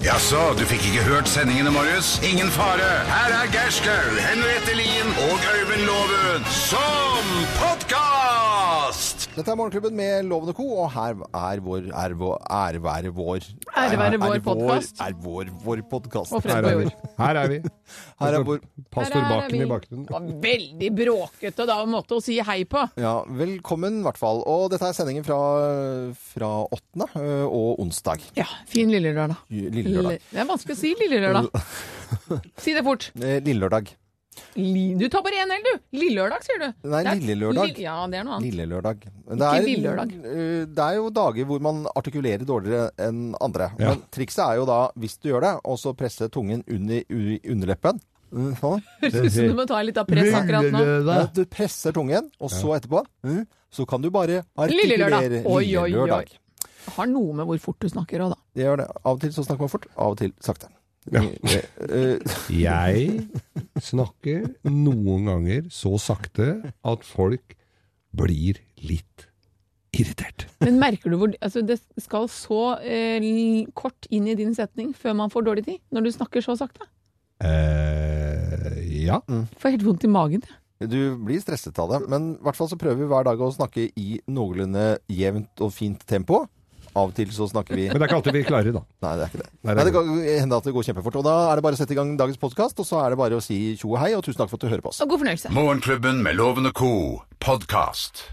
Jaså, du fikk ikke hørt sendingene, Marius? Ingen fare. Her er Gerskaug, Henriette Lien og Øyvind Loven som podkast! Dette er Morgenklubben med Loven og Co., og her er vår er vår, er være vår Ære være vår podcast. Er vår, vår podkast. Og Her frem på er vi. jord. Her er vi. Her er vår Pastor Her er Baken vi. i bakgrunnen. Det var veldig bråkete da, en måte å si hei på. ja, Velkommen, i hvert fall. Og dette er sendingen fra, fra 8. ø, og onsdag. Ja, fin lille lørdag. Lille Lille- lørdag. Det er vanskelig å si lille lørdag. Si det fort. Eh, Lille lørdag. Li- Du tar bare én L, du. Lillelørdag, sier du. Nei, Det er- lille lørdag. Li- Ja, det er noe annet. Lille lørdag. Men Ikke lille lørdag. ø, det er jo dager hvor man artikulerer dårligere enn andre. Ja. Men trikset er jo da, hvis du gjør det, også presse tungen under u- underleppen. Mm, Sånn. Høres ut som du må ta litt av press akkurat nå. Ja, du presser tungen, og så etterpå mm, så kan du bare Lille artikulere lørdag. Oi, oi, Lille oi. lørdag. Det har noe med hvor fort du snakker òg, da. Det gjør det. Av og til så snakker man fort, av og til sakte. Ja. Eh, eh, Jeg snakker noen ganger så sakte at folk blir litt irritert. Men merker du hvor altså, Det skal så eh, l- kort inn i din setning før man får dårlig tid, når du snakker så sakte. Eh, ja. Får helt vondt i magen. jeg. Du blir stresset av det, men i hvert fall så prøver vi hver dag å snakke i noenlunde jevnt og fint tempo. Av og til så snakker vi Men det er ikke alltid vi klarer, da. Nei, det er ikke det. Nei, det er Nei, det kan hende at det går kjempefort. Og da er det bare å sette i gang dagens podkast, og så er det bare å si tjo og hei, og tusen takk for at du hører på oss. Og god fornøyelse. Morgenklubben med Loven og Co. podkast.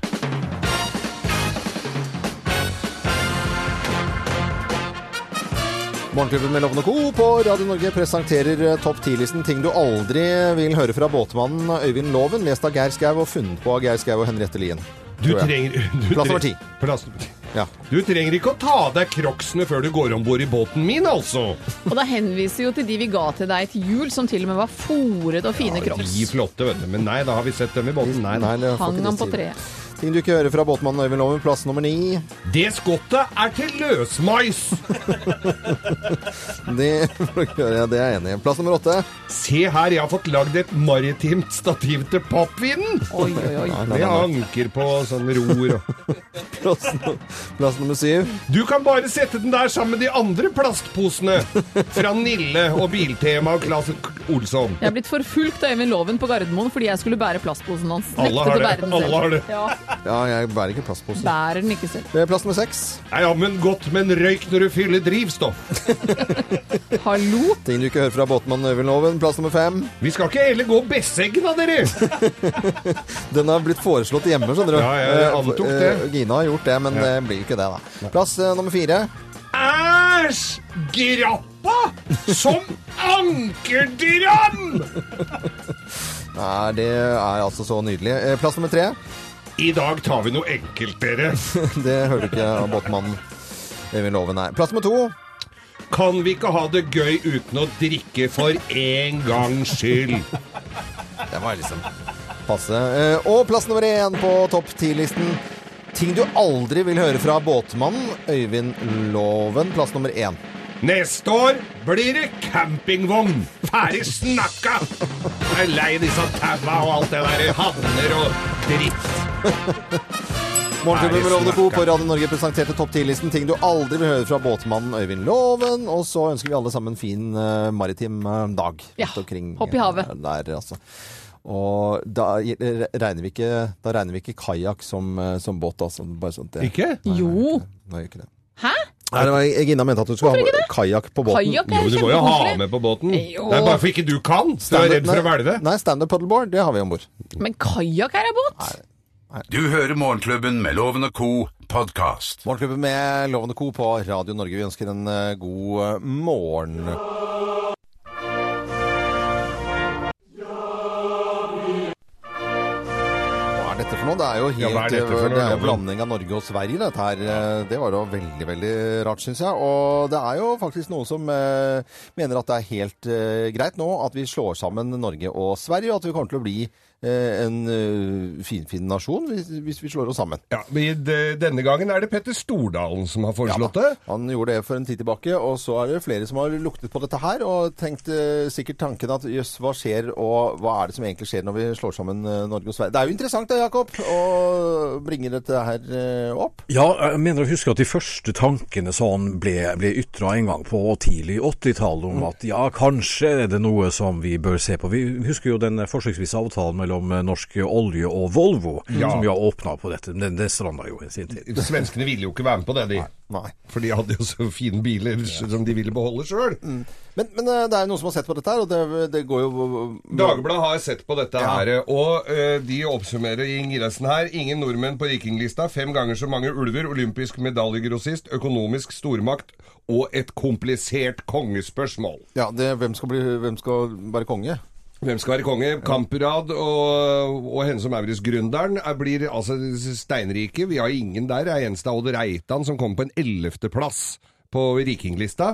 Morgenklubben med Loven og Co. på Radio Norge presenterer eh, topp 10-listen ting du aldri vil høre fra båtmannen Øyvind Loven, lest av Geir Skau og funnet på av Geir Skau og Henriette Lien. Du Tror jeg. trenger du Plass nummer tre- ti. Plass nummer ti. Ja. Du trenger ikke å ta av deg crocsene før du går om bord i båten min, altså! Og da henviser vi jo til de vi ga til deg til jul, som til og med var fòret og fine De crocs. flotte, vet du. Men nei, da har vi sett dem i båten. Nei, nei. jeg får Hang ikke han lyst på til det. treet. Ting du ikke hører fra båtmannen Øyvind Loven, plass nummer ni. Det skottet er til løsmais! Det, det er jeg enig i. Plass nummer åtte. Se her, jeg har fått lagd et maritimt stativ til pappvinen! Oi, oi, oi. Med anker på sånn ror og Plass, nu- plass nummer syv. Du kan bare sette den der sammen med de andre plastposene fra Nille og Biltema og Claes Olsson. Jeg er blitt forfulgt av Øyvind Loven på Gardermoen fordi jeg skulle bære plastposen hans. Nektet Alle har å det. bære den Alle selv. har det. Ja, Ja, jeg bærer ikke plastpose. bærer den ikke selv. Eh, Plass nummer seks. Nei, ja, men godt med en røyk når du fyller drivstoff. Hallo? Ting du ikke hører fra båtmannen Øyvind Loven, plass nummer fem. Vi skal ikke heller gå Besseggen av dere! Den har blitt foreslått hjemme, skjønner du. Ja, jeg antok det. Eh, Gina har gjort det, men det blir ikke det, da. Plass eh, nummer fire. Æsj! Grappa som ankerdram! Nei, det er altså så nydelig. Eh, Plass nummer tre. I dag tar vi noe enkelt, dere. Det hører du ikke av båtmannen. Øyvind Loven her. Plass nummer to. Kan vi ikke ha det gøy uten å drikke for en gangs skyld? Det var liksom passe. Eh, Og plass nummer én på topp ti-listen. Ting du aldri vil høre fra båtmannen Øyvind Loven. Plass nummer én. Neste år blir det campingvogn! Ferdig snakka! Jeg er lei disse taua og alt det der havner og dritt. Morgenklubben med Lovende Co. på snakka. Radio Norge presenterte topp 10-listen ting du aldri vil høre fra båtmannen Øyvind Loven. Og så ønsker vi alle sammen en fin eh, maritim eh, dag. Ja, rundt omkring, hopp i havet. eh, Der, altså. Og da eh, regner vi ikke, da regner vi ikke kajakk som, eh, som båt, altså. Bare sånt, det. Ikke? Jo. Nei, gjør ikke det. Hæ? Nei, det var, Gina mente at du skulle ha kajakk på båten. Kajakk Jo, er men du må jo ha kjempekoselig. med på båten. Jo. Det er bare for ikke du kan. Du er redd for å hvelve. Nei, standup paddleboard, det har vi om bord. Men kajakk er ei båt? Du hører Morgenklubben med Loven og Co. podkast. Morgenklubben med Lovende Co. på Radio Norge. Vi ønsker en eh, god eh, morgen. Hva er dette for noe? Det er jo helt, Ja, hva er dette for noe, det er jo Loven? blanding av Norge og Sverige, dette her. Eh, Det var jo veldig, veldig rart, syns jeg. Og det er jo faktisk noen som eh, mener at det er helt eh, greit nå at vi slår sammen Norge og Sverige, og at vi kommer til å bli eh, en eh, finfin nasjon hvis, hvis vi slår oss sammen. Ja, men i de- Denne gangen er det Petter Stordalen som har foreslått det. Han gjorde det for en tid tilbake, og så er det flere som har luktet på dette her og tenkt eh, sikkert tanken at jøss, hva skjer, og hva er det som egentlig skjer når vi slår sammen eh, Norge og Sverige? Det er jo interessant da, Jakob, å bringe dette her eh, opp. Ja, jeg mener å huske at de første tankene sånn ble, ble ytra en gang på tidlig 80-tall om at ja, kanskje er det noe som vi bør se på. Vi husker jo den forsøksvise avtalen mellom eh, Norsk Olje og Volvo, som jo åpna på dette. Men det stranda jo i sin tid. Svenskene ville jo ikke være med på det, de. Nei. For de hadde jo så fine biler som de ville beholde sjøl. Men, men eh, det er jo noen som har sett på dette her, og det, det går jo Dagbladet har sett på dette her, og eh, de oppsummerer i ingressen her ingen nordmenn på rikinglista, fem ganger så mange ulver, olympisk medaljegrossist, økonomisk stormakt og et komplisert kongespørsmål. Ja, det, hvem, skal bli, hvem skal være konge? Hvem skal være konge? Kamprad og, og henne som Auris-gründeren er- blir altså steinrike. Vi har ingen der. Det er eneste Odd Reitan som kommer på en ellevteplass på rikinglista.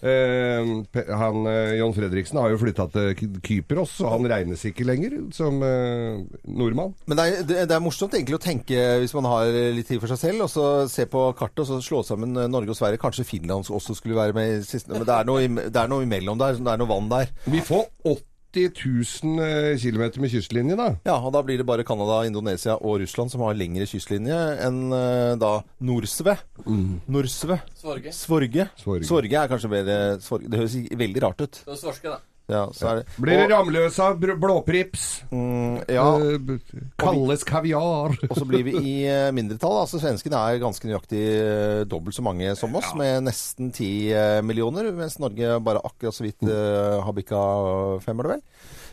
Eh, Pe- han, eh, John Fredriksen har jo flytta til Ky- Kypros, så han regnes ikke lenger som eh, nordmann. Men det er, det, det er morsomt egentlig å tenke, hvis man har litt tid for seg selv, og så se på kartet og så slå sammen eh, Norge og Sverige. Kanskje Finland også skulle være med i siste Men det er noe, im- det er noe imellom der. Det er noe vann der. Vi får 80 000 km med kystlinje, da. Ja, og da blir det bare Canada, Indonesia og Russland som har lengre kystlinje enn eh, da Norsve. Norsve. Svorge. Svorge. Svorge. er kanskje bedre Svorge. Det høres i- veldig rart ut. Det var svorske, da. Ja, så er det. Blir det og, ramløsa, br- blåprips, ja, eh, b- kalles kaviar og så blir vi i eh, mindretall. Altså svenskene er ganske nøyaktig eh, dobbelt så mange som oss, med nesten ti eh, millioner, mens Norge bare akkurat så vidt eh, har bikka fem, er det vel?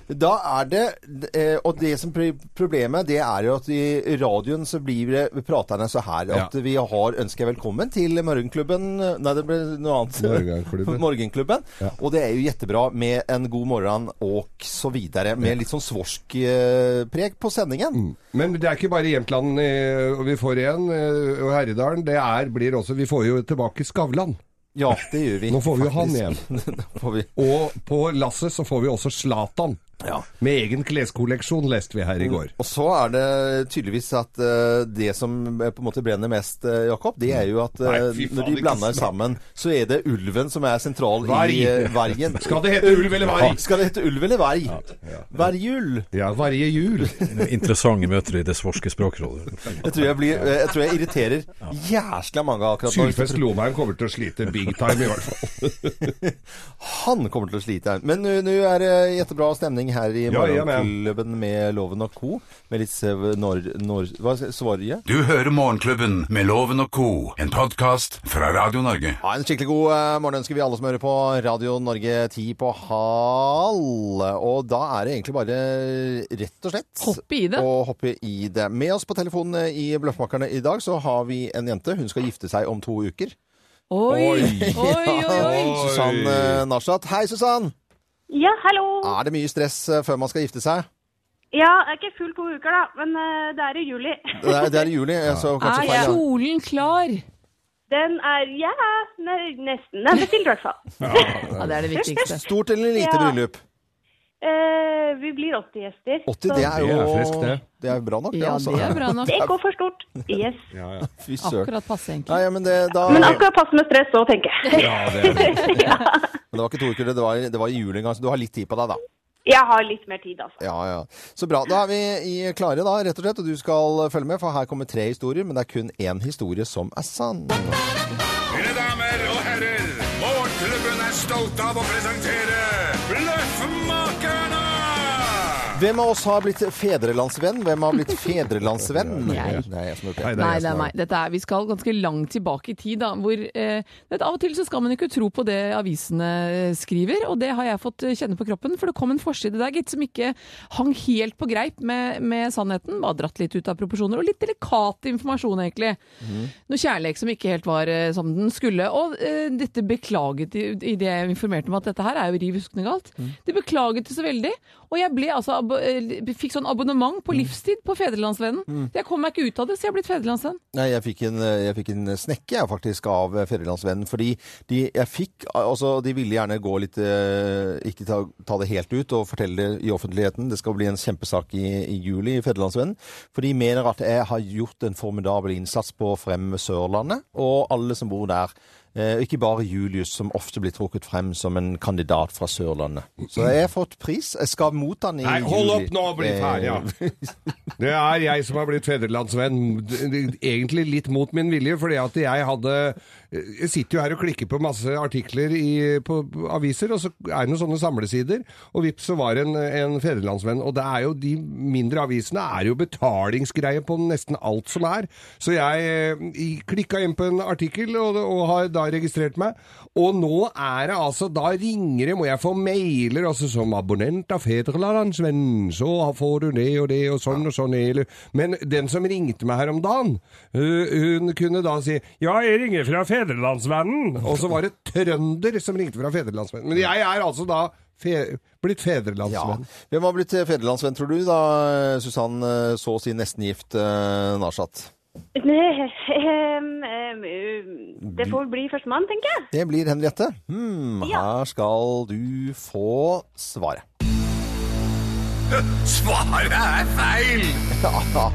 Da er det eh, Og det som pri- problemet, det er jo at i radioen så blir det praterne så her at Ja. vi har ønsket velkommen til Morgenklubben Nei, det ble noe annet. Morgenklubben. Morgenklubben. Og det er jo jettebra med en god morgen og så videre. Med litt sånn svorsk-preg på sendingen. Men det er ikke bare Jämtland eh, vi får igjen, eh, og Herredalen. Det er, blir også, vi får jo tilbake Skavlan. Ja, det gjør vi. Nå får vi jo han faktisk. Nå får vi. Og på lasset så får vi også Zlatan. Ja. Med egen kleskolleksjon, leste vi her i går. Og så er det tydeligvis at eh, det som eh, på en måte brenner mest, eh, Jakob, det er jo at eh, Nei, fy faen, når de ikke blander snakk. sammen, så er det ulven som er sentral Varg. i eh, vargen. Skal det hete ulv eller varg? Skal det hete ulv eller varg? Vargjul. Ja, varje jul. Interessante møter i det svorske språkrådet. Jeg tror jeg, blir, eh, jeg, tror jeg irriterer jæsla mange akkurat nå. Sylfest Lomheim kommer til å slite big time, i hvert fall. Han kommer til å slite. Men eh, nå nå er det jettebra stemning her i Ja, ja, men. Morgenklubben med Loven og co. Med litt sev- nor... nor hva, Svorje? Du hører Morgenklubben med Loven og co., en podkast fra Radio Norge. Ja, en skikkelig god eh, morgen ønsker vi alle som hører på Radio Norge 10 på halv. Og da er det egentlig bare eh, rett og slett Hoppe i det. å hoppe i det. Med oss på telefonen eh, i Bløffmakerne i dag så har vi en jente. Hun skal gifte seg om to uker. Oi, oi, oi, oi. Susann eh, Nashat. Hei, Susann! Ja, hallo. Er det mye stress eh, før man skal gifte seg? Ja, det er ikke fullt to uker, da, men eh, det er i juli. Det er, det er i juli, eh, så kanskje Er feil. kjolen klar? Den er ja, ne- nesten. Den er bestilt, i hvert fall. Ja, det er det viktigste. Stort eller lite Ja. bryllup? Eh, vi blir 80 gjester. 80, det er Det jo er friskt, det. Det er bra nok, det, Ja, altså. det er bra nok. Det går for stort. Yes. Fy søren. Akkurat passe, Nei, egentlig. ja, men det, da... Men akkurat passe med stress òg, tenker jeg. Ja, det er det. Men det var ikke to uker, det var, det var i juli en gang, så du har litt tid på deg, da. Jeg har litt mer tid, altså. Ja, ja. Så bra. Da er vi i klare, da, rett og slett. Og du skal følge med, for her kommer tre historier, men det er kun én historie som er sann. Mine damer og herrer, Morgenklubben er stolt av å presentere Bløffmakerne! Hvem av oss har blitt fedrelandsvenn? Hvem har blitt fedrelandsvenn? Jeg. Det er jeg som har gjort Nei, det. det er Nei, jeg det er som meg. Dette er, vi skal ganske langt tilbake i tid. Da, hvor, eh, vet, du, av og til så skal man ikke tro på det avisene eh, skriver, og det har jeg fått eh, kjenne på kroppen. For det kom en forside der gitt som ikke hang helt på greip med, med sannheten. Bare dratt litt ut av proporsjoner. Og litt delikat informasjon, egentlig. Mhm. Noe kjærlighet som ikke helt var eh, som den skulle. Og eh, dette Mhm. beklaget de, i det jeg informerte om at dette her er jo riv huskende galt. De beklaget det så veldig. Og Og jeg ble altså, abo- eh, fikk sånn abonnement Mm. på livstid på Fedrelandsvennen. Jeg kom meg ikke ut av det, så jeg er blitt Fedrelandsvenn. Nei, jeg fikk en, eh, jeg fikk en snekke jeg, faktisk av eh, Fedrelandsvennen, fordi de, jeg fikk, altså, de ville gjerne gå litt, eh, ikke ta, ta det helt ut og fortelle det i offentligheten. Det skal bli en kjempesak i, i juli i Fedrelandsvennen, for de mener at jeg har gjort en formidabel innsats på å fremme Sørlandet, og alle som bor der. Eh, Ikke bare Julius, som ofte blir trukket frem som en kandidat fra Sørlandet. Så jeg har fått pris. Jeg skal motta den i Nei, juli. hold opp nå og bli Eh, ferdig, ja. Det er jeg som har blitt fedrelandsvenn, egentlig litt mot min vilje, fordi at jeg hadde Jeg sitter jo her og klikker på masse artikler i, på aviser, og så er det noen sånne samlesider, og vips så var det en, en fedrelandsvenn. Og det er jo de mindre avisene er jo betalingsgreie på nesten alt som er. Så jeg klikka inn på en artikkel og, og har da registrert meg, og nå er det altså Da ringer det, må jeg få mailer, altså som abonnent av Fedrelandsvennen, så får du det og det og sånn og sånn. eller- Men den som ringte meg her om dagen, hun, hun kunne da si Ja, jeg ringer fra Fedrelandsvennen. Og så var det trønder som ringte fra Fedrelandsvennen. Men jeg er altså da fe blitt Ja. fedrelandsvenn. Hvem har blitt eh, fedrelandsvenn, tror du, da Susann eh, så å si nesten gift eh, Narsat? Nei, em, em, em, eh, det får bli førstemann, tenker jeg. Det blir Henriette. Hmm, her skal du få svaret. Svaret er feil! Ja.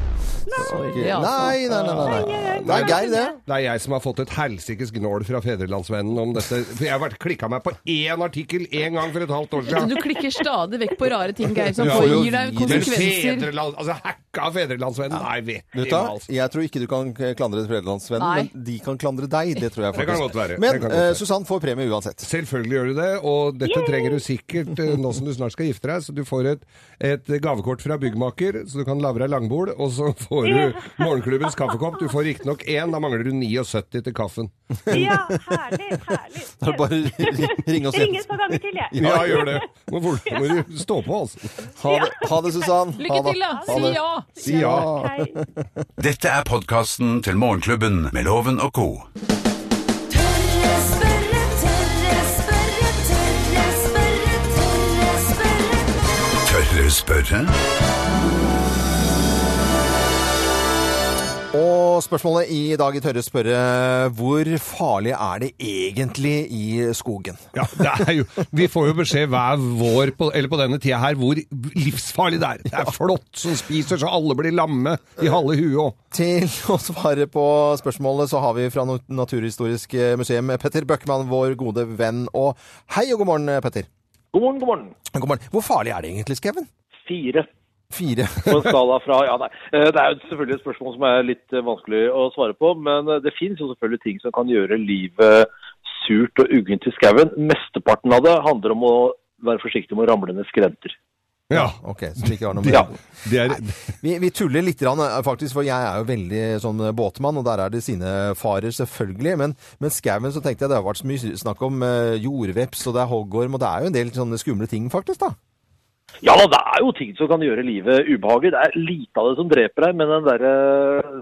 Sorry, Nei, altså. nei, nei. nei, nei. Det er Geir, det. Det er jeg som har fått et helsikes gnål fra Fedrelandsvennen om dette. For jeg har klikka meg på én artikkel én gang for et halvt år siden. Du klikker stadig vekk på rare ting, Geir, som Ja, får- jo, gir deg gi Men konsekvenser. fedreland... Altså, hacka fedrelandsvennen! Nei, vet du Vet du, hva? hva? jeg tror ikke du kan klandre Nei. Fedrelandsvennen, men de kan klandre deg. Det tror jeg Det faktisk. kan godt være. Det Men kan godt være. eh, Susann får premie uansett. Selvfølgelig gjør du det, og dette trenger du sikkert eh, nå som du snart skal gifte deg. Så du får et, et gavekort fra byggmaker, så du kan lage deg langbol, og så får du morgenklubbens kaffekopp. Du får riktignok én, da mangler du 79 til kaffen. Ja, herlig, herlig. Da er det bare å ringe oss Jeg ringer igjen. et par ganger til, jeg. Ja, gjør det! Må, fort- må du stå på, altså. Ha det, ha det Susann. Lykke til, da! Si ja! Si ja. Hei. Dette er podkasten til Morgenklubben med Loven og co. Tørre spørre, tørre spørre, tørre spørre, tørre spørre. Tør du spørre? Og spørsmålet i dag i Tørre spørre Hvor farlig er det egentlig i skogen? Ja, det er jo, vi får jo beskjed hver vår, på, eller på denne tida her, hvor livsfarlig det er. Det er flått som spiser, så alle blir lamme i halve huet òg. Til å svare på spørsmålet så har vi fra Nat- Naturhistorisk eh, museum Petter Bøckmann, vår gode venn. Og hei og god morgen, eh, Petter. God morgen, god morgen. God morgen. Hvor farlig er det egentlig, Skreven? Fire Fire. på en skala fra Ja, nei. Eh, Det er jo selvfølgelig et spørsmål som er litt eh, vanskelig å svare på, men eh, det finnes jo selvfølgelig ting som kan gjøre livet surt og uggent i skauen. Mesteparten av det handler om å være forsiktig med å ramle ned skrenter. Ja. Ok, så det ikke var noe Ja. mer. Det er, Vi, vi tuller litt, grann, eh, faktisk, for jeg er jo veldig sånn båtmann, og der er det sine farer, selvfølgelig. Men, men skauen så tenkte jeg det har vært så mye snakk om eh, jordveps, og det er hoggorm, og det er jo en del sånne skumle ting, faktisk, da. Ja da, det er jo ting som kan gjøre livet ubehagelig. Det er lite av det som dreper deg, men den derre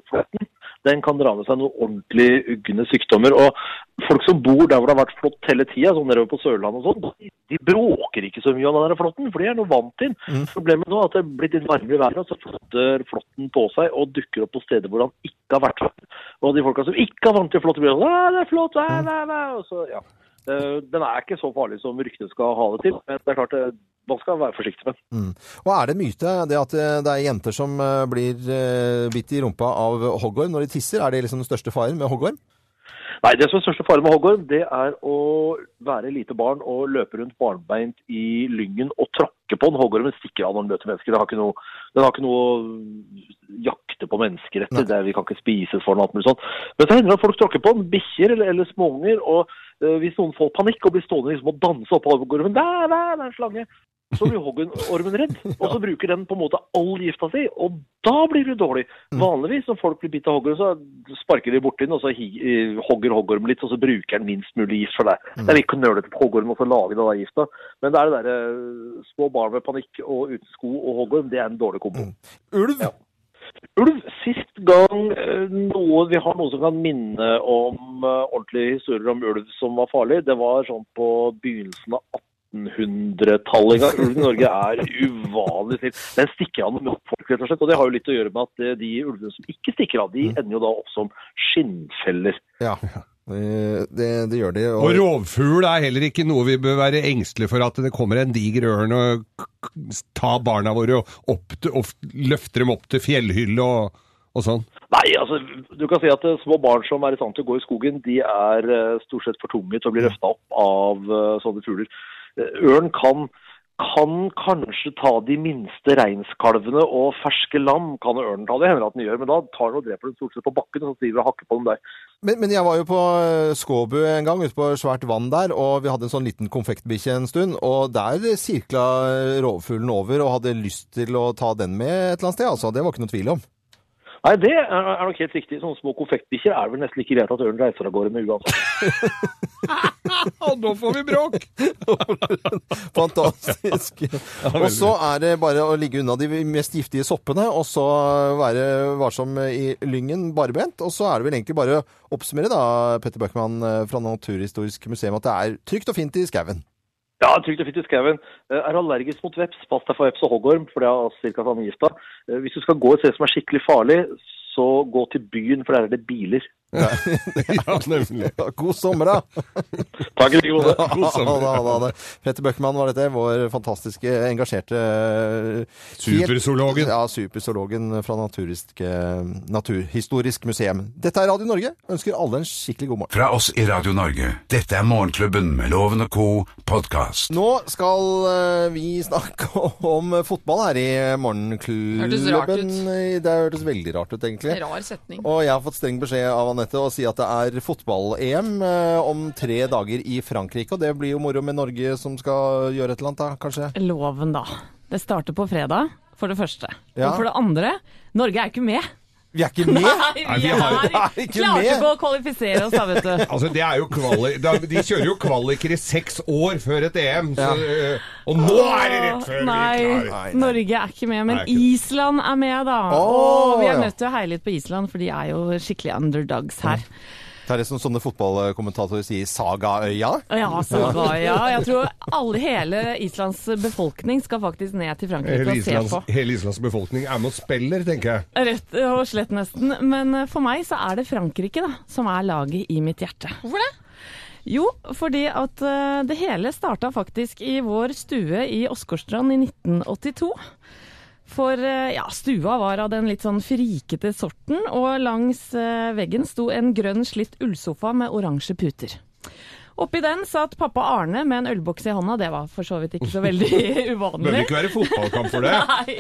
flåtten, den kan dra med seg noen ordentlig ugne sykdommer. Og folk som bor der hvor det har vært flått hele tida, sånn nedover på Sørlandet og sånn, de- de bråker ikke så mye av den der flåtten, for de er nå vant til den. Problemet nå er at det er blitt litt varmere i været, og så flytter flåtten på seg og dukker opp på steder hvor han ikke har vært. Og de folka som ikke er vant til flått, blir sånn «Æ, det er flått, æ, æ, æ», og så, ja. Eh, Den er ikke så farlig som ryktene skal ha det til, men det er klart eh, man skal være forsiktig med den. Og er det myte det at eh, det er jenter som eh, blir eh, bitt i rumpa av hoggorm når de tisser? Er det liksom den største faren med hoggorm? Nei, det som er største fare med hoggorm, det er å være lite barn og løpe rundt barnbeint i lyngen og tråkke på den. Hoggormen stikker av når den møter mennesker. Den har ikke noe, den har ikke noe å jakte på mennesker etter. Det, er- vi kan ikke spises for den og alt mulig sånt. Men så hender det at folk tråkker på den. Bikkjer eller, eller småunger. Og eh, hvis noen får panikk og blir stående liksom, og danse oppå hoggormen Der, der, det er en slange! Så blir hoggormen redd, og så bruker den på en måte all gifta si, og da blir du dårlig. Vanligvis når folk blir bitt av hoggorm, så sparker de borti den, og så hi eh, hogger hoggormen litt, og så bruker den minst mulig gift for deg. Det er litt knølete på hoggormen å få lage den der gifta, men det er det derre eh, små barn med panikk og uten sko og hoggorm, det er en dårlig kombo. Ulv! Ulv, sist gang eh, noe, vi har noe som kan minne om eh, ordentlige historier om ulv som var farlig, det var sånn på begynnelsen av 1800-tallet engang. Ulven i Norge er uvanlig snill. Den stikker av med folk, rett og slett. Og det har jo litt å gjøre med at eh, de ulvene som ikke stikker av, de ender jo da opp som skinnfeller. Ja, det, det, det gjør de. Og rovfugl er heller ikke noe vi bør være engstelige for at det kommer en diger ørn og k- k- tar barna våre og, opp, til- og f- løfter dem opp til fjellhylle og, og sånn. Nei, altså, du kan si at eh, små barn som er i stand til å gå i skogen, de er eh, stort sett for tunge til å bli løfta opp av eh, sånne fugler. Eh, Ørn kan, kan kanskje ta de minste reinskalvene, og ferske lam kan ørnen ta. Det hender at den gjør, men da tar den og dreper den stort sett på bakken, og så driver den og hakker på dem der. Men, men jeg var jo på eh, Skåbu en gang, ute på svært vann der, og vi hadde en sånn liten konfektbikkje en stund, og der sirkla eh, rovfuglen over og hadde lyst til å ta den med et eller annet sted, altså. Det var ikke noe tvil om. Nei, det er, er nok helt riktig. Sånne små konfektbikkjer er det vel nesten ikke greit at ørnen reiser av gårde med uansett. Og nå får vi bråk! Fantastisk. Og så er det bare å ligge unna de mest giftige soppene, og så være varsom i lyngen barbent. Og så er det vel egentlig bare å oppsummere, da, Petter Bøckmann eh, fra Naturhistorisk museum, at det er trygt og fint i skauen. Ja, trygt og fint i skauen. Eh, Er du allergisk mot veps, pass deg for veps og hoggorm, for det er ca. samme gifta. Eh, Hvis du skal gå et sted som er skikkelig farlig, så gå til byen, for der er det biler. Ja, nemlig. God sommer, da! Takk i like måte. God Ha det, sommer. ha det, ha det. Petter Bøckmann var dette, vår fantastiske, engasjerte eh, helt- Superzoologen. Ja, superzoologen fra Naturhistorisk, eh, Naturhistorisk museum. Dette er Radio Norge. Ønsker alle en skikkelig god morgen. Fra oss i Radio Norge, dette er Morgenklubben med Loven og Co. podkast. Nå skal eh, vi snakke om fotball her i morgenklubben. Hørtes rart ut. Det hørtes veldig rart ut, egentlig. Rar setning. Og jeg har fått streng beskjed av Anette å si at det er fotball-EM eh, om tre dager i Frankrike. Og det blir jo moro med Norge som skal gjøre et eller annet, da, kanskje. Loven, da. Det starter på fredag, for det første. Ja. Og for det andre, Norge er ikke med. Vi er ikke med! vi vi har- er ikke klarte med. ikke å kvalifisere oss, da, vet du. Altså, det er jo kvali da- De kjører jo kvaliker i seks år før et EM, så, øh, og nå er det rett før vi klarer Nei, Norge er ikke med, men Nei, ikke. Island er med, da. Å, Åh, vi er ja. nødt til å heie litt på Island, for de er jo skikkelig underdogs her. Det er det som sånne fotballkommentatorer sier Sagaøya. Ja, Sagaia. Jeg tror alle, hele Islands befolkning skal faktisk ned til Hele Frankrike og se Islands, på. hele Islands befolkning er med og spiller, tenker jeg. Rett og slett nesten. Men eh, for meg så er det Frankrike da, som er laget i mitt hjerte. Hvorfor det? Jo, fordi at eh, det hele starta faktisk i vår stue i Åsgårdstrand i 1982. For eh, ja, stua var av den litt sånn frikete sorten, og langs eh, veggen sto en grønn slitt ullsofa med oransje puter. Oppi den satt pappa Arne med en ølboks i hånda, det var for så vidt ikke så veldig uvanlig. Bør ikke være fotballkamp for det. Nei.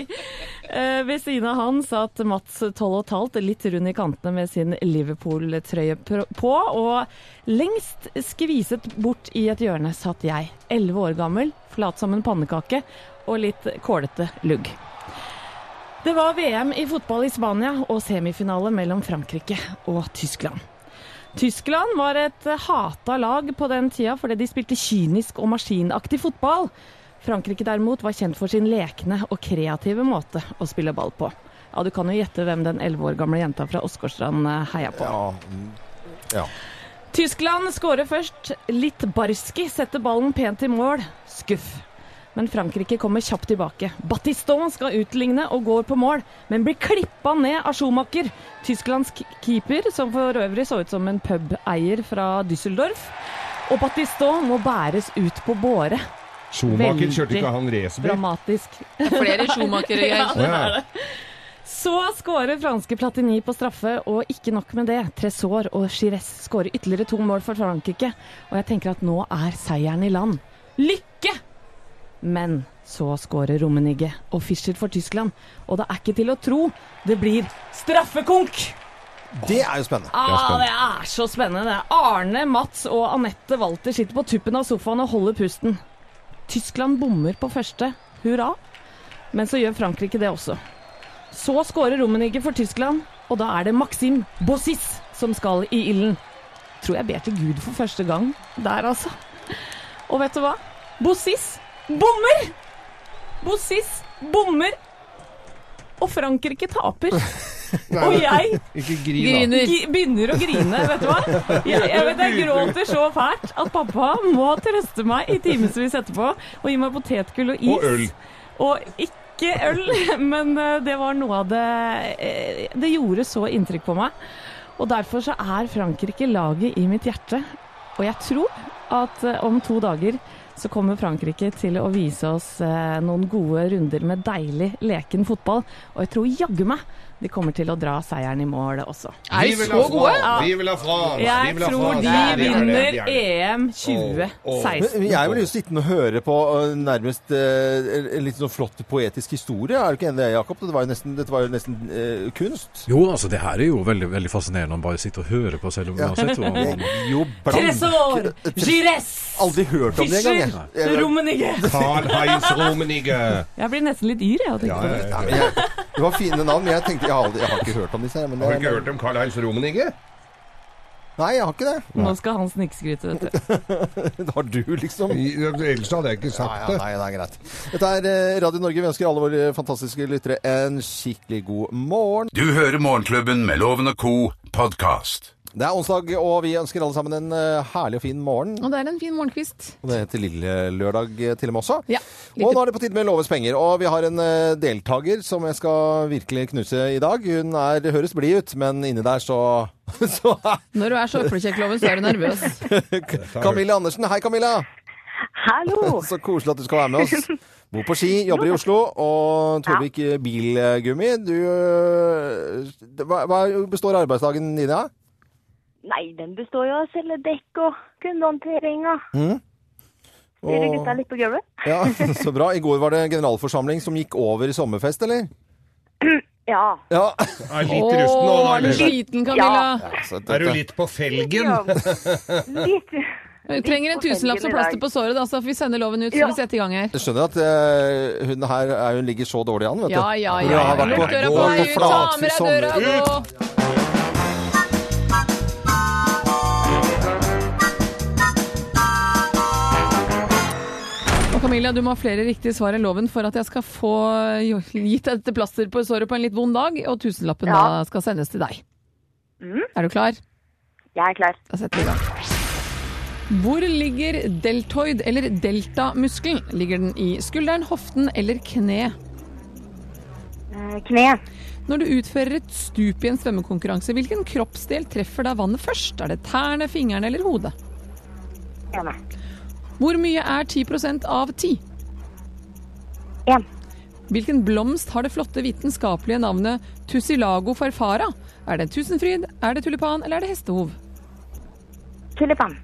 Eh, ved siden av han satt Mats 12,5, litt rund i kantene med sin Liverpool-trøye pr- på. Og lengst skviset bort i et hjørne satt jeg, 11 år gammel, flat som en pannekake og litt kålete lugg. Det var VM i fotball i Spania og semifinale mellom Frankrike og Tyskland. Tyskland var et eh, hata lag på den tida fordi de spilte kynisk og maskinaktig fotball. Frankrike derimot var kjent for sin lekne og kreative måte å spille ball på. Ja, Du kan jo gjette hvem den 11 år gamle jenta fra Åsgårdstrand eh, heia på. Ja. mm, ja. Tyskland skårer først. Litt barski setter ballen pent i mål. Skuff. Men Frankrike kommer kjapt tilbake. Battiston skal utligne og går på mål, men blir klippa ned av Schumacher. Tysklands k- keeper, som for øvrig så ut som en pubeier fra Düsseldorf. Og Battiston må bæres ut på båre. Schumacher Veldig kjørte ikke han racerbil. Dramatisk. Flere Schumacher i Å, ja. Så skårer franske Platini på straffe, og ikke nok med det. Tresor og Gires skårer ytterligere to mål for Frankrike, og jeg tenker at nå er seieren i land. Lykke! Men så skårer Rummenigge og Fischer for Tyskland, og det er ikke til å tro. Det blir straffekonk! Det er jo spennende. Ah, det er så spennende. Arne, Mats og Anette Walter sitter på tuppen av sofaen og holder pusten. Tyskland bommer på første. Hurra. Men så gjør Frankrike det også. Så skårer Rummenigge for Tyskland, og da er det Maxim Bossis som skal i ilden. Tror jeg ber til Gud for første gang der, altså. Og vet du hva? Bossis bommer! Bossis bommer! Og Frankrike taper. Og jeg Ikke grin, da. Griner. gi- begynner å grine, vet du hva. Jeg, jeg, vet, jeg gråter så fælt at pappa må trøste meg i timevis etterpå og gi meg potetgull og is. Og øl. Og ikke øl, men eh, det var noe av det eh, Det gjorde så inntrykk på meg. Og derfor så er Frankrike laget i mitt hjerte. Og jeg tror at eh, om to dager så kommer Frankrike til å vise oss eh, noen gode runder med deilig, leken fotball. Og jeg tror jaggu meg de kommer til å dra seieren i mål også. Er de Vi vil så ha gode? France, Vi vil ha France! vi Jeg vil ha tror France, de ja, vi er det, vinner vi er det. EM Åh, åh. Men 2016. Jeg er vel just sittende og høre på øh, nærmest øh, en- en litt sånn flott poetisk historie. Er du ikke enig i det, Jakob? Det var jo nesten, dette var jo nesten øh, kunst. Jo, altså, det her er jo veldig, veldig fascinerende å bare sitte og høre på, selv om uansett. Og, og, Jo, blank. Tresor, Gires, Aldri hørt om det engang. jeg. Jeg- Fischer, E. Rummenigge. Karl-Heinz Rummenigge. Jeg blir nesten litt yr jeg, av å Ja, tenke på det. ja, ja. Men jeg- Det var fine navn, men jeg tenkte Jeg har, aldri, jeg har ikke hørt om disse. her, Men Har du ikke hørt om Karl-Heinz Rummenigge? Nei, jeg har ikke det. Nå skal han snikskryte, vet du. Det har du, liksom. I- Ellers hadde jeg ikke Ja, sagt ja, det. nei, det er greit. Dette er eh, Radio Norge. Vi ønsker alle våre fantastiske lyttere en skikkelig god morgen. Du hører Morgenklubben med Loven og Co. podkast. Det er onsdag, og vi ønsker alle sammen en eh, herlig og fin morgen. Og det er en fin morgenkvist. Og det heter Lille Lørdag eh, til og med også. Ja, og nå er det på tide med Loves penger. Og vi har en eh, deltaker som jeg skal virkelig knuse i dag. Hun er, høres blid ut, men inni der så, så er Når du er så øplekjekkloven, så er du nervøs. Camilla Andersen. Hei, Camilla! Hallo! Så koselig at du skal være med oss. Bor på Ski, jobber i Oslo. Og Torvik eh, Bilgummi, du eh, det- Hva, hva består arbeidsdagen din av? Nei, den består jo av å selge dekk og kundehåndtering og styre Mm. Og, gutta litt på gulvet. ja, så bra. I går var det generalforsamling som gikk over i sommerfest, eller? Ja. Ja. Er litt rusten nå, da. er du eller? sliten, Camilla? Så Er du dette- litt på felgen? ja. Litt. Du trenger en tusenlapp som plaster på såret, da, så vi sender loven ut, så Ja. vi setter i gang her. Jeg skjønner at eh, hun her er, hun ligger så dårlig an, vet du. Ja, ja, Hun ja. har vært Lukk døra på gått vei ut, ta flatfri med deg sommer. døra, gå! Og Camilla, du må ha flere riktige svar enn loven for at jeg skal få jo- gitt deg dette plaster på såret på en litt vond dag, og tusenlappen Ja. da skal sendes til deg. Er du klar? Jeg er klar. Da setter vi i gang. Hvor ligger deltoid eller deltamuskelen? Ligger den i skulderen, hoften eller kne? Eh, Kne. Når du utfører et stup i en svømmekonkurranse, hvilken kroppsdel treffer da vannet først? Er det tærne, fingrene eller hodet? Ene. Hvor mye er 10 av 10? En. Hvilken blomst har det flotte vitenskapelige navnet Tussilago farfara? Er det tusenfryd, er det tulipan eller er det hestehov? Tulipan.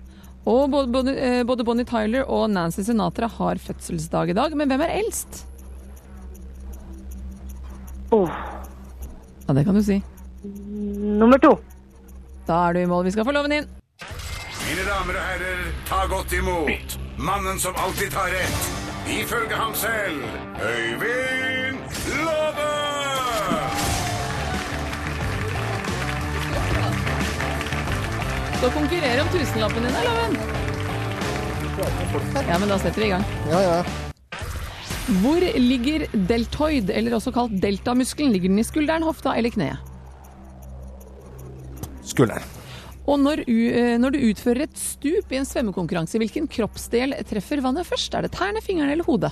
Og både, både, eh, både Bonnie Tyler og Nancy Sinatra har fødselsdag i dag, men hvem er eldst? Åh. Ja, det kan du si. Oh, Nummer to. Da er du i mål. Vi skal få loven inn. Mine damer og herrer, ta godt imot mannen som alltid tar rett. Ifølge ham selv Øyvind Låve! Så konkurrere om tusenlappen din, da, loven. Ja, men da setter vi i gang. Ja, ja. Hvor ligger deltoid, eller også kalt deltamuskelen? Ligger den i skulderen, hofta eller kneet? Skulderen. Og når, u- eh, når du utfører et stup i en svømmekonkurranse, hvilken kroppsdel treffer vannet først? Er det tærne, fingrene eller hodet?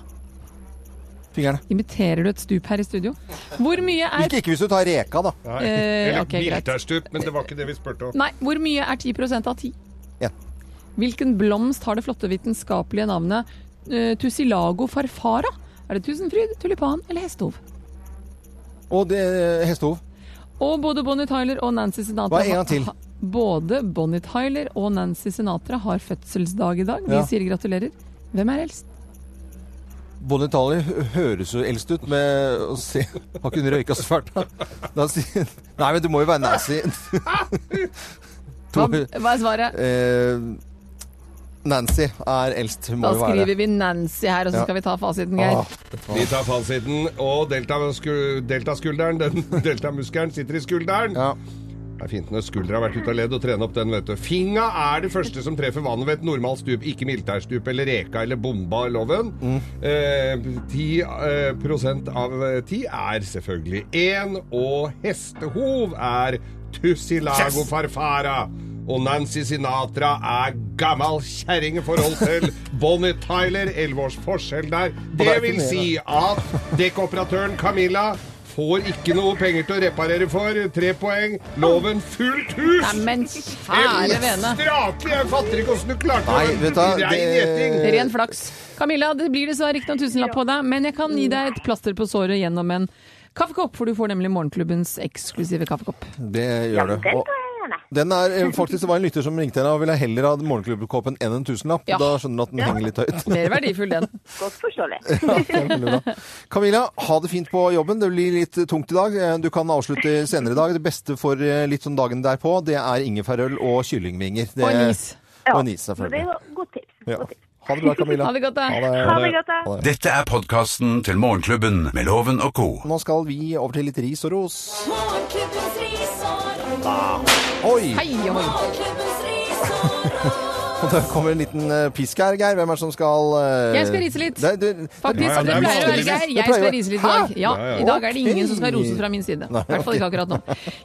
Fingrene. Imiterer du et stup her i studio? Hvor mye er Ikke, ikke hvis du tar reka, da. Nei. Eh, Eller ok, greit. bilterstup, men det var ikke det vi spurte om. Nei, hvor mye er 10 av 10? Ja. Hvilken blomst har det flotte vitenskapelige navnet eh, Tussilago farfara? Er det tusenfryd, tulipan eller hestehov? Og det eh, hestehov. Og både Bonnie Tyler og Nancy Sinatra Hva, en gang til? ha- Både Bonnie Tyler og Nancy Sinatra har fødselsdag i dag. Vi Ja. sier gratulerer. Hvem er eldst? Bonnie Tyler hø- høres jo eldst ut med å se Har ikke hun røyka så fælt, da? da sier, nei, men du må jo være Nancy. Hva, To, hva er svaret? eh, Nancy er eldst. Hun Da må jo være skriver det. vi Nancy her, og så Ja. Ah. skal vi ta fasiten, Geir. Vi tar fallsiden, og delta- sku- deltaskulderen, den deltamuskelen, sitter i skulderen. Ja. Det er fint når skuldra har vært ute av ledd og trene opp den, vet du. Finga er det første som treffer vannet ved et normalt stup, ikke militærstup eller reka eller bomba, loven. Eh, 10 eh, prosent av eh, 10 er selvfølgelig 1, og hestehov er Tussilago farfara. Og Nancy Sinatra er gammal kjerring i forhold til Bonnie Tyler. Elleve års forskjell der. Det vil si at dekkoperatøren Camilla får ikke noe penger til å reparere for. Tre poeng. Loven fullt hus! Neimen, Ellen kjære vene. Stratli, jeg fatter ikke åssen du klarte Nei, å- vet du hva, Rein det- gjeting. Ren flaks. Camilla, det blir dessverre ikke noen tusenlapp på deg, men jeg kan gi deg et plaster på såret gjennom en kaffekopp, for du får nemlig Morgenklubbens eksklusive kaffekopp. Det Ja, gjør den det. tar Og jeg gjerne. den er eh, faktisk det var en lytter som ringte henne og ville heller ha morgenklubbkåpen enn en tusenlapp. Ja. Da skjønner du at den henger litt høyt. Mer verdifull, den. Godt forståelig. Veldig bra. Camilla, ha det fint på jobben. Det blir litt tungt i dag. Eh, Du kan avslutte senere i dag. Det beste for eh, litt sånn dagen derpå, det er ingefærøl og kyllingvinger. Det, Og en is. Og Men en is, det er selvfølgelig. jo godt tips. Ja. Godt tips. Ha det bra, Camilla. Ha det godt, da. Ha det godt, da. Ha det. Dette er podkasten til Morgenklubben med Loven og co. Nå skal vi over til litt ris og ros. Morgenklubbens risår. Oi! Hei, oi. Morgenklubbens risår. Og det kommer en liten eh, pisk her, Geir. Hvem er det som skal eh, Jeg skal rise litt. Det, det, Faktisk, Ja, ja, det det er pleier å være vanligvis. Geir. Det Jeg pleier å skal være- rise litt i Hæ? dag. Ja, Ja, ja. I dag er det ingen som skal Ok. roses fra min side. I Nei, hvert fall ikke akkurat nå.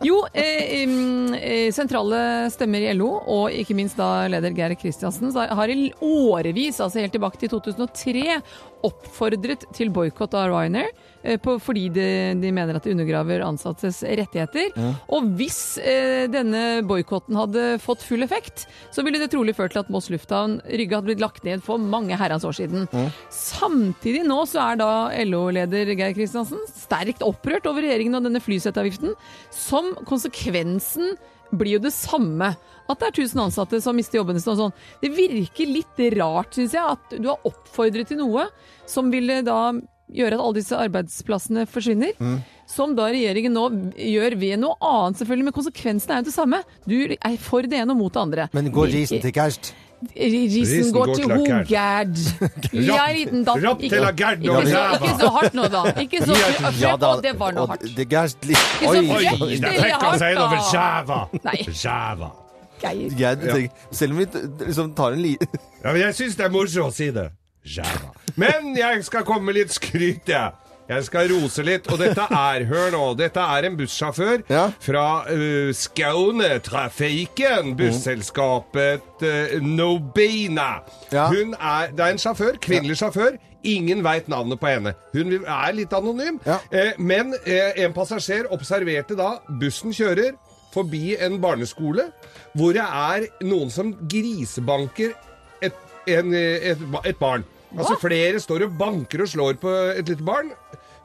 Jo, eh, em, eh, sentrale stemmer i LO, og ikke minst da leder Geir Kristiansen, sa- har i årevis, altså helt tilbake til 2003, oppfordret til boikott av Ryanair. eh, På, fordi de, de mener at det undergraver ansattes rettigheter. Og hvis eh, denne boikotten hadde fått full effekt, så ville det trolig ført til at Moss lufthavn Rygge hadde blitt lagt ned for mange herrens år siden. Samtidig nå så er da LO-leder Geir Kristiansen sterkt opprørt over regjeringen og denne flysettavgiften, som konsekvensen blir jo det samme. At det er 1000 ansatte som mister jobben sin og sånn. Det virker litt rart, syns jeg, at du har oppfordret til noe som ville da gjøre at alle disse arbeidsplassene forsvinner. Mm. Som da regjeringen nå gjør ved noe annet, selvfølgelig, men konsekvensen er jo det samme. Du er for det ene og mot det andre. Men går Virker- risen til kast? Risen går til Gerd. Hogerd. Ja, liten datt. rapp til Ikke, av Gerd og ikke, så, ræva. ikke så hardt nå, da. Ikke så ja, da, Det var noe og hardt. Det gerst litt Ikke så frekt, Oi, det der er fikk han seg hardt, over da. skjæva. Nei, Skjæva. Geir. Geir, tenk, selv om vi t- liksom tar en li... Ja, men jeg syns det er morsomt å si det. Skjæva. Men jeg skal komme med litt skryt, jeg. Jeg skal rose litt, og dette er Hør nå. Dette er en bussjåfør Ja. fra uh, Skåne Mm. Trafikken, busselskapet eh, Nobina. Ja. Hun er, det er en sjåfør, kvinnelig sjåfør. Ingen veit navnet på henne. Hun vil- er litt anonym. Ja. Eh, men eh, en passasjer observerte da bussen kjører forbi en barneskole, hvor det er noen som grisebanker et, en, eh, et, ba- et barn. Altså flere står og banker og slår på et lite barn.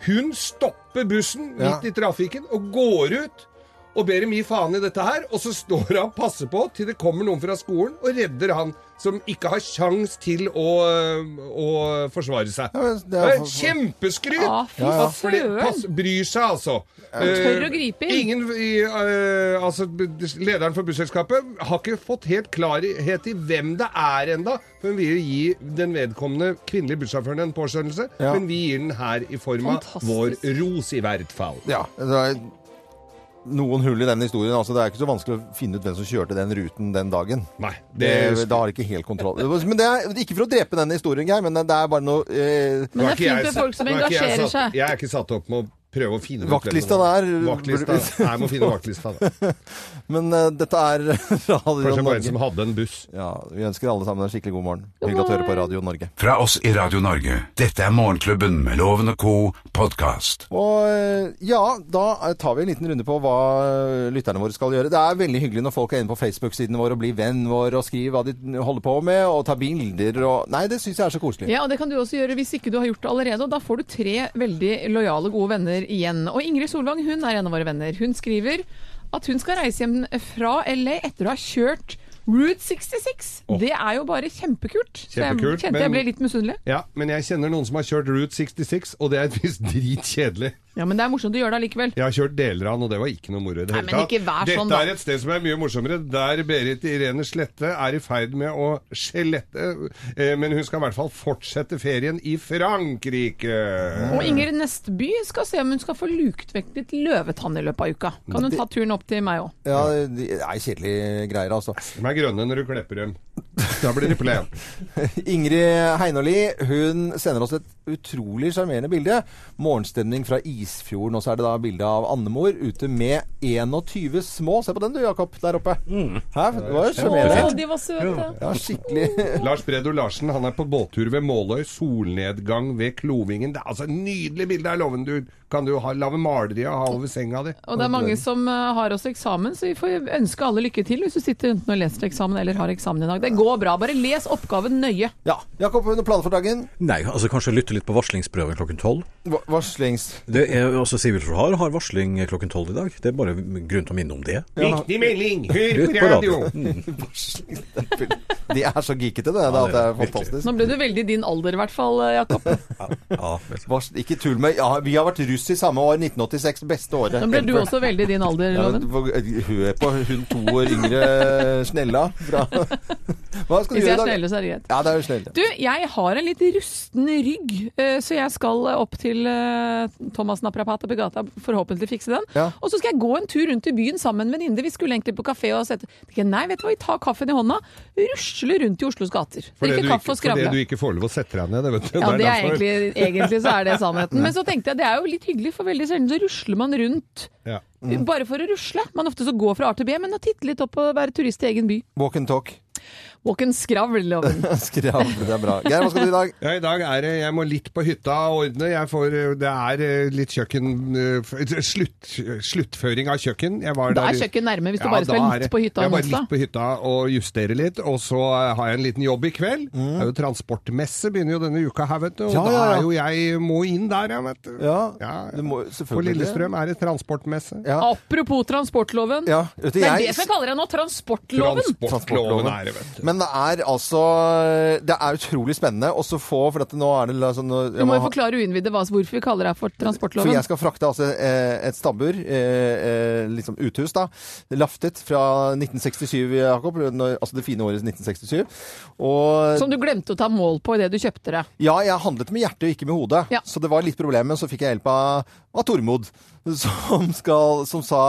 Hun stopper bussen Ja. midt i trafikken og går ut og ber dem gi faen i dette her. Og så står han og passer på til det kommer noen fra skolen og redder han som ikke har sjans til å, eh, å forsvare seg. Ja, men det er Det er for- Kjempeskryt! Ja, fy At fle- søren. pass- Bryr seg, altså. Tør å gripe inn. Eh, Ingen i, eh, altså, b- lederen for busselskapet har ikke fått helt klarhet i hvem det er enda. For Hun vil jo gi den vedkommende kvinnelige bussjåføren en påskjønnelse, Ja. men vi gir den her i form av Fantastisk. vår ros, i hvert fall. Ja, Altså, det er noen hull i den historien. Altså, det er ikke så vanskelig å finne ut hvem som kjørte den ruten den dagen. Nei, Det, det da har de ikke helt kontroll. Men det er, Ikke for å drepe denne historien, Geir, men det er bare noe eh, Men det Nå er fint ikke med jeg folk som satt- nå er ikke jeg engasjerer satt- seg. Jeg er ikke satt opp med å prøve å finne ut hvem det Vaktlista var. der. Vaktlista. Nei, jeg må finne vaktlista. da. Men eh, dette er Radio Kanskje det var en Norge. som hadde en buss. Ja, vi ønsker alle sammen en skikkelig god morgen. Hyggelig at du hører på Radio Norge. Fra oss i Radio Norge. Dette er Morgenklubben med Loven og co. podkast. Og eh, ja, da tar vi en liten runde på hva eh, lytterne våre skal gjøre. Det er veldig hyggelig når folk er inne på Facebook-siden vår og blir vennen vår og skriver hva de holder på med og tar bilder og Nei, det syns jeg er så koselig. Ja, og Det kan du også gjøre hvis ikke du har gjort det allerede. og Da får du tre veldig lojale, gode venner igjen. Og Ingrid Solvang hun er en av våre venner. Hun skriver at hun skal reise hjem fra LA etter å ha kjørt Route 66. Det er jo bare kjempekult. Så jeg Kjempekult, kjente men- jeg ble litt misunnelig. Ja, men jeg kjenner noen som har kjørt Route 66, og det er visst dritkjedelig. Ja, men det er morsomt å gjøre det allikevel. Jeg har kjørt deler av den, og det var ikke noe moro i Nei, det hele men tatt. ikke vær Dette sånn, da. er et sted som er mye morsommere, der Berit Irene Slette er i ferd med å skjelette, eh, men hun skal i hvert fall fortsette ferien i Frankrike. Og Inger Nestby skal se om hun skal få luket vekk litt løvetann i løpet av uka. Kan hun ta turen opp til meg òg? Ja, det er kjedelige greier, altså. De er grønne når du klepper dem. Da blir det plen. Ingrid Heinoli hun sender oss et utrolig sjarmerende bilde. Morgenstemning fra Isfjorden. Og så er det da bilde av Annemor ute med 21 små. Se på den du, Jakob, der oppe. Hæ? Mm. Det var jo sjarmerende. de var søte. Ja, skikkelig. Lars Bredo Larsen han er på båttur ved Måløy. Solnedgang ved Klovingen. Det er altså et nydelig bilde av låven du kan du ha, lave maleri av ha over senga di. Og det er mange som eh, har også eksamen, så vi får ønske alle lykke til hvis du sitter enten og leser eksamen eller har eksamen i dag. Det går bra. Bare les oppgaven nøye. Ja, Jakob, har du noen planer for dagen? Nei, altså kanskje lytte litt på varslingsprøven klokken tolv. Va- Varslings... Det er altså Sivilforsvar har varsling klokken tolv i dag. Det er bare grunn til å minne om det. Viktig melding! Hør Ut på radio! Mm. De er så geekete, det. Det, er, at det er fantastisk. Nå ble du veldig din alder i hvert fall, eh, Jakob. Ja, vel. Vars, ikke tull med ja, Vi har vært russ i samme år. 1986, beste året. Nå ble du også veldig din alder, Ja, Loven. men Hør på hun to år yngre snella fra Hva skal du Hvis jeg gjøre i er dag? snill, så er det greit. Ja, det er jo snell. Du, jeg har en litt rusten rygg, eh, så jeg skal eh, opp til eh, Thomas Naprapat på gata, forhåpentlig fikse den. Ja. Og så skal jeg gå en tur rundt i byen sammen med en venninne. Vi skulle egentlig på kafé og sette Tenkte jeg, Nei, vet du hva, vi tar kaffen i hånda, rusler rundt i Oslos gater. Fordi Drikke du, kaffe og ikke, fordi skravle. du ikke får lov å sette deg ned. Det vet du. Ja, det er derfor. Mm. egentlig, egentlig så er det sannheten. Men så tenkte jeg det er jo litt hyggelig, for veldig sjelden så rusler man rundt. Ja. Bare for å rusle. Man ofte så går fra A til B, men å titte litt opp og være turist i egen by. Walk and talk. Walk and skravl, loven. Skravl, det er bra. Geir, hva skal du i dag? Ja, I dag er det Jeg må litt på hytta og ordne. Jeg får, det er eh, litt kjøkken eh, f- slutt, Sluttføring av kjøkken. Jeg var Da der- er kjøkkenet nærme, hvis du Ja, bare da skal er litt det- på hytta Jeg om bare litt onsdag. på hytta og justere litt. Og så eh, har jeg en liten jobb i kveld. Det er jo transportmesse begynner jo denne uka her, vet du. Og Mm. Ja, ja, ja. da er jo jeg må inn der, ja, vet du. Ja, Ja, du må På selvfølgelig Lillestrøm er det transportmesse. Ja. Apropos transportloven. Ja, vet du, Det er jeg- det som jeg kaller det nå, transportloven. Transportloven er det, vet du. Men det er altså Det er utrolig spennende også få For at nå er det la- sånn nå- Du jeg må må jo ha- forklare uinnvidde hva- hvorfor vi kaller det her for For transportloven. jeg skal frakte altså eh, et stabbur, eh, eh, liksom uthus da, laftet fra 1967, Jakob, når- altså det fine året 1967. Og Som du glemte å ta mål på idet du kjøpte det. Ja, jeg handlet med hjertet og ikke med hodet. Ja. Så det var litt problem, men så fikk jeg hjelp av, av Tormod, som, skal, som sa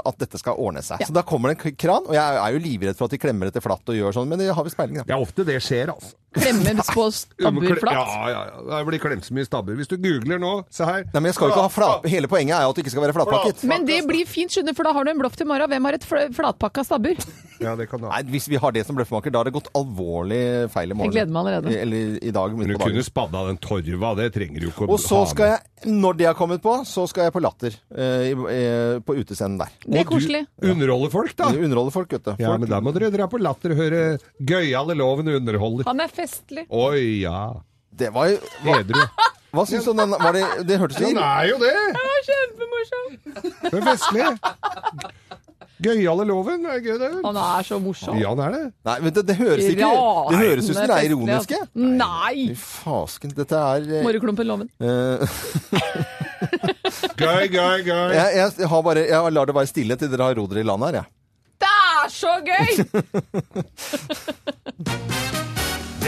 at dette skal ordne seg. Så da kommer det en kran, og jeg er jo livredd for at de klemmer dette flatt og gjør sånn, men det har vi speiling, da. Det er ofte det skjer, altså. Klemmer på stabbur flatt. Ja, ja, ja. Det blir klemt så mye stabber. Hvis du googler nå, se her. Nei, men jeg skal jo ikke ha flat... Hele poenget er jo at det ikke skal være flatpakket. Men det blir fint, skjønner du, for da har du en bløff til morgen. Hvem har et fl- flatpakka stabbur? Ja, det kan du ha. Nei, hvis vi har det som bløffmaker, da har det gått alvorlig feil i morgen. Jeg gleder meg allerede. Eller i dag, midt Men du på kunne dagen. spadda den torva, det trenger du ikke å Og så ha skal med. jeg, når det har kommet på, så skal jeg på latter eh, i- eh, på utescenen der. Det er koselig. Du underholder folk, da. Underholde folk, vet du. Ja, Folk- men da må dere dra på latter og høre gøyale loven underholder. Han er festlig. Oi, ja. Det var jo... Hva, Edru. hva syns du om den? Var det, det hørtes Han jo er jo det! Kjempemorsom. Det er festlig. Gøyale loven, det er gøy det. Han er så morsom. Ja, han er det. Nei, men det, det høres ikke Det høres ut som dere er ironiske. altså. Nei! Fy Fasken, dette er eh, Morreklumpen Loven. eh, Gøy, gøy, gøy. jeg, jeg, har bare, jeg lar det være stille til dere har rodet i land her, jeg. Det er så gøy!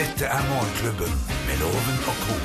Dette er Morgenklubben med Loven og co.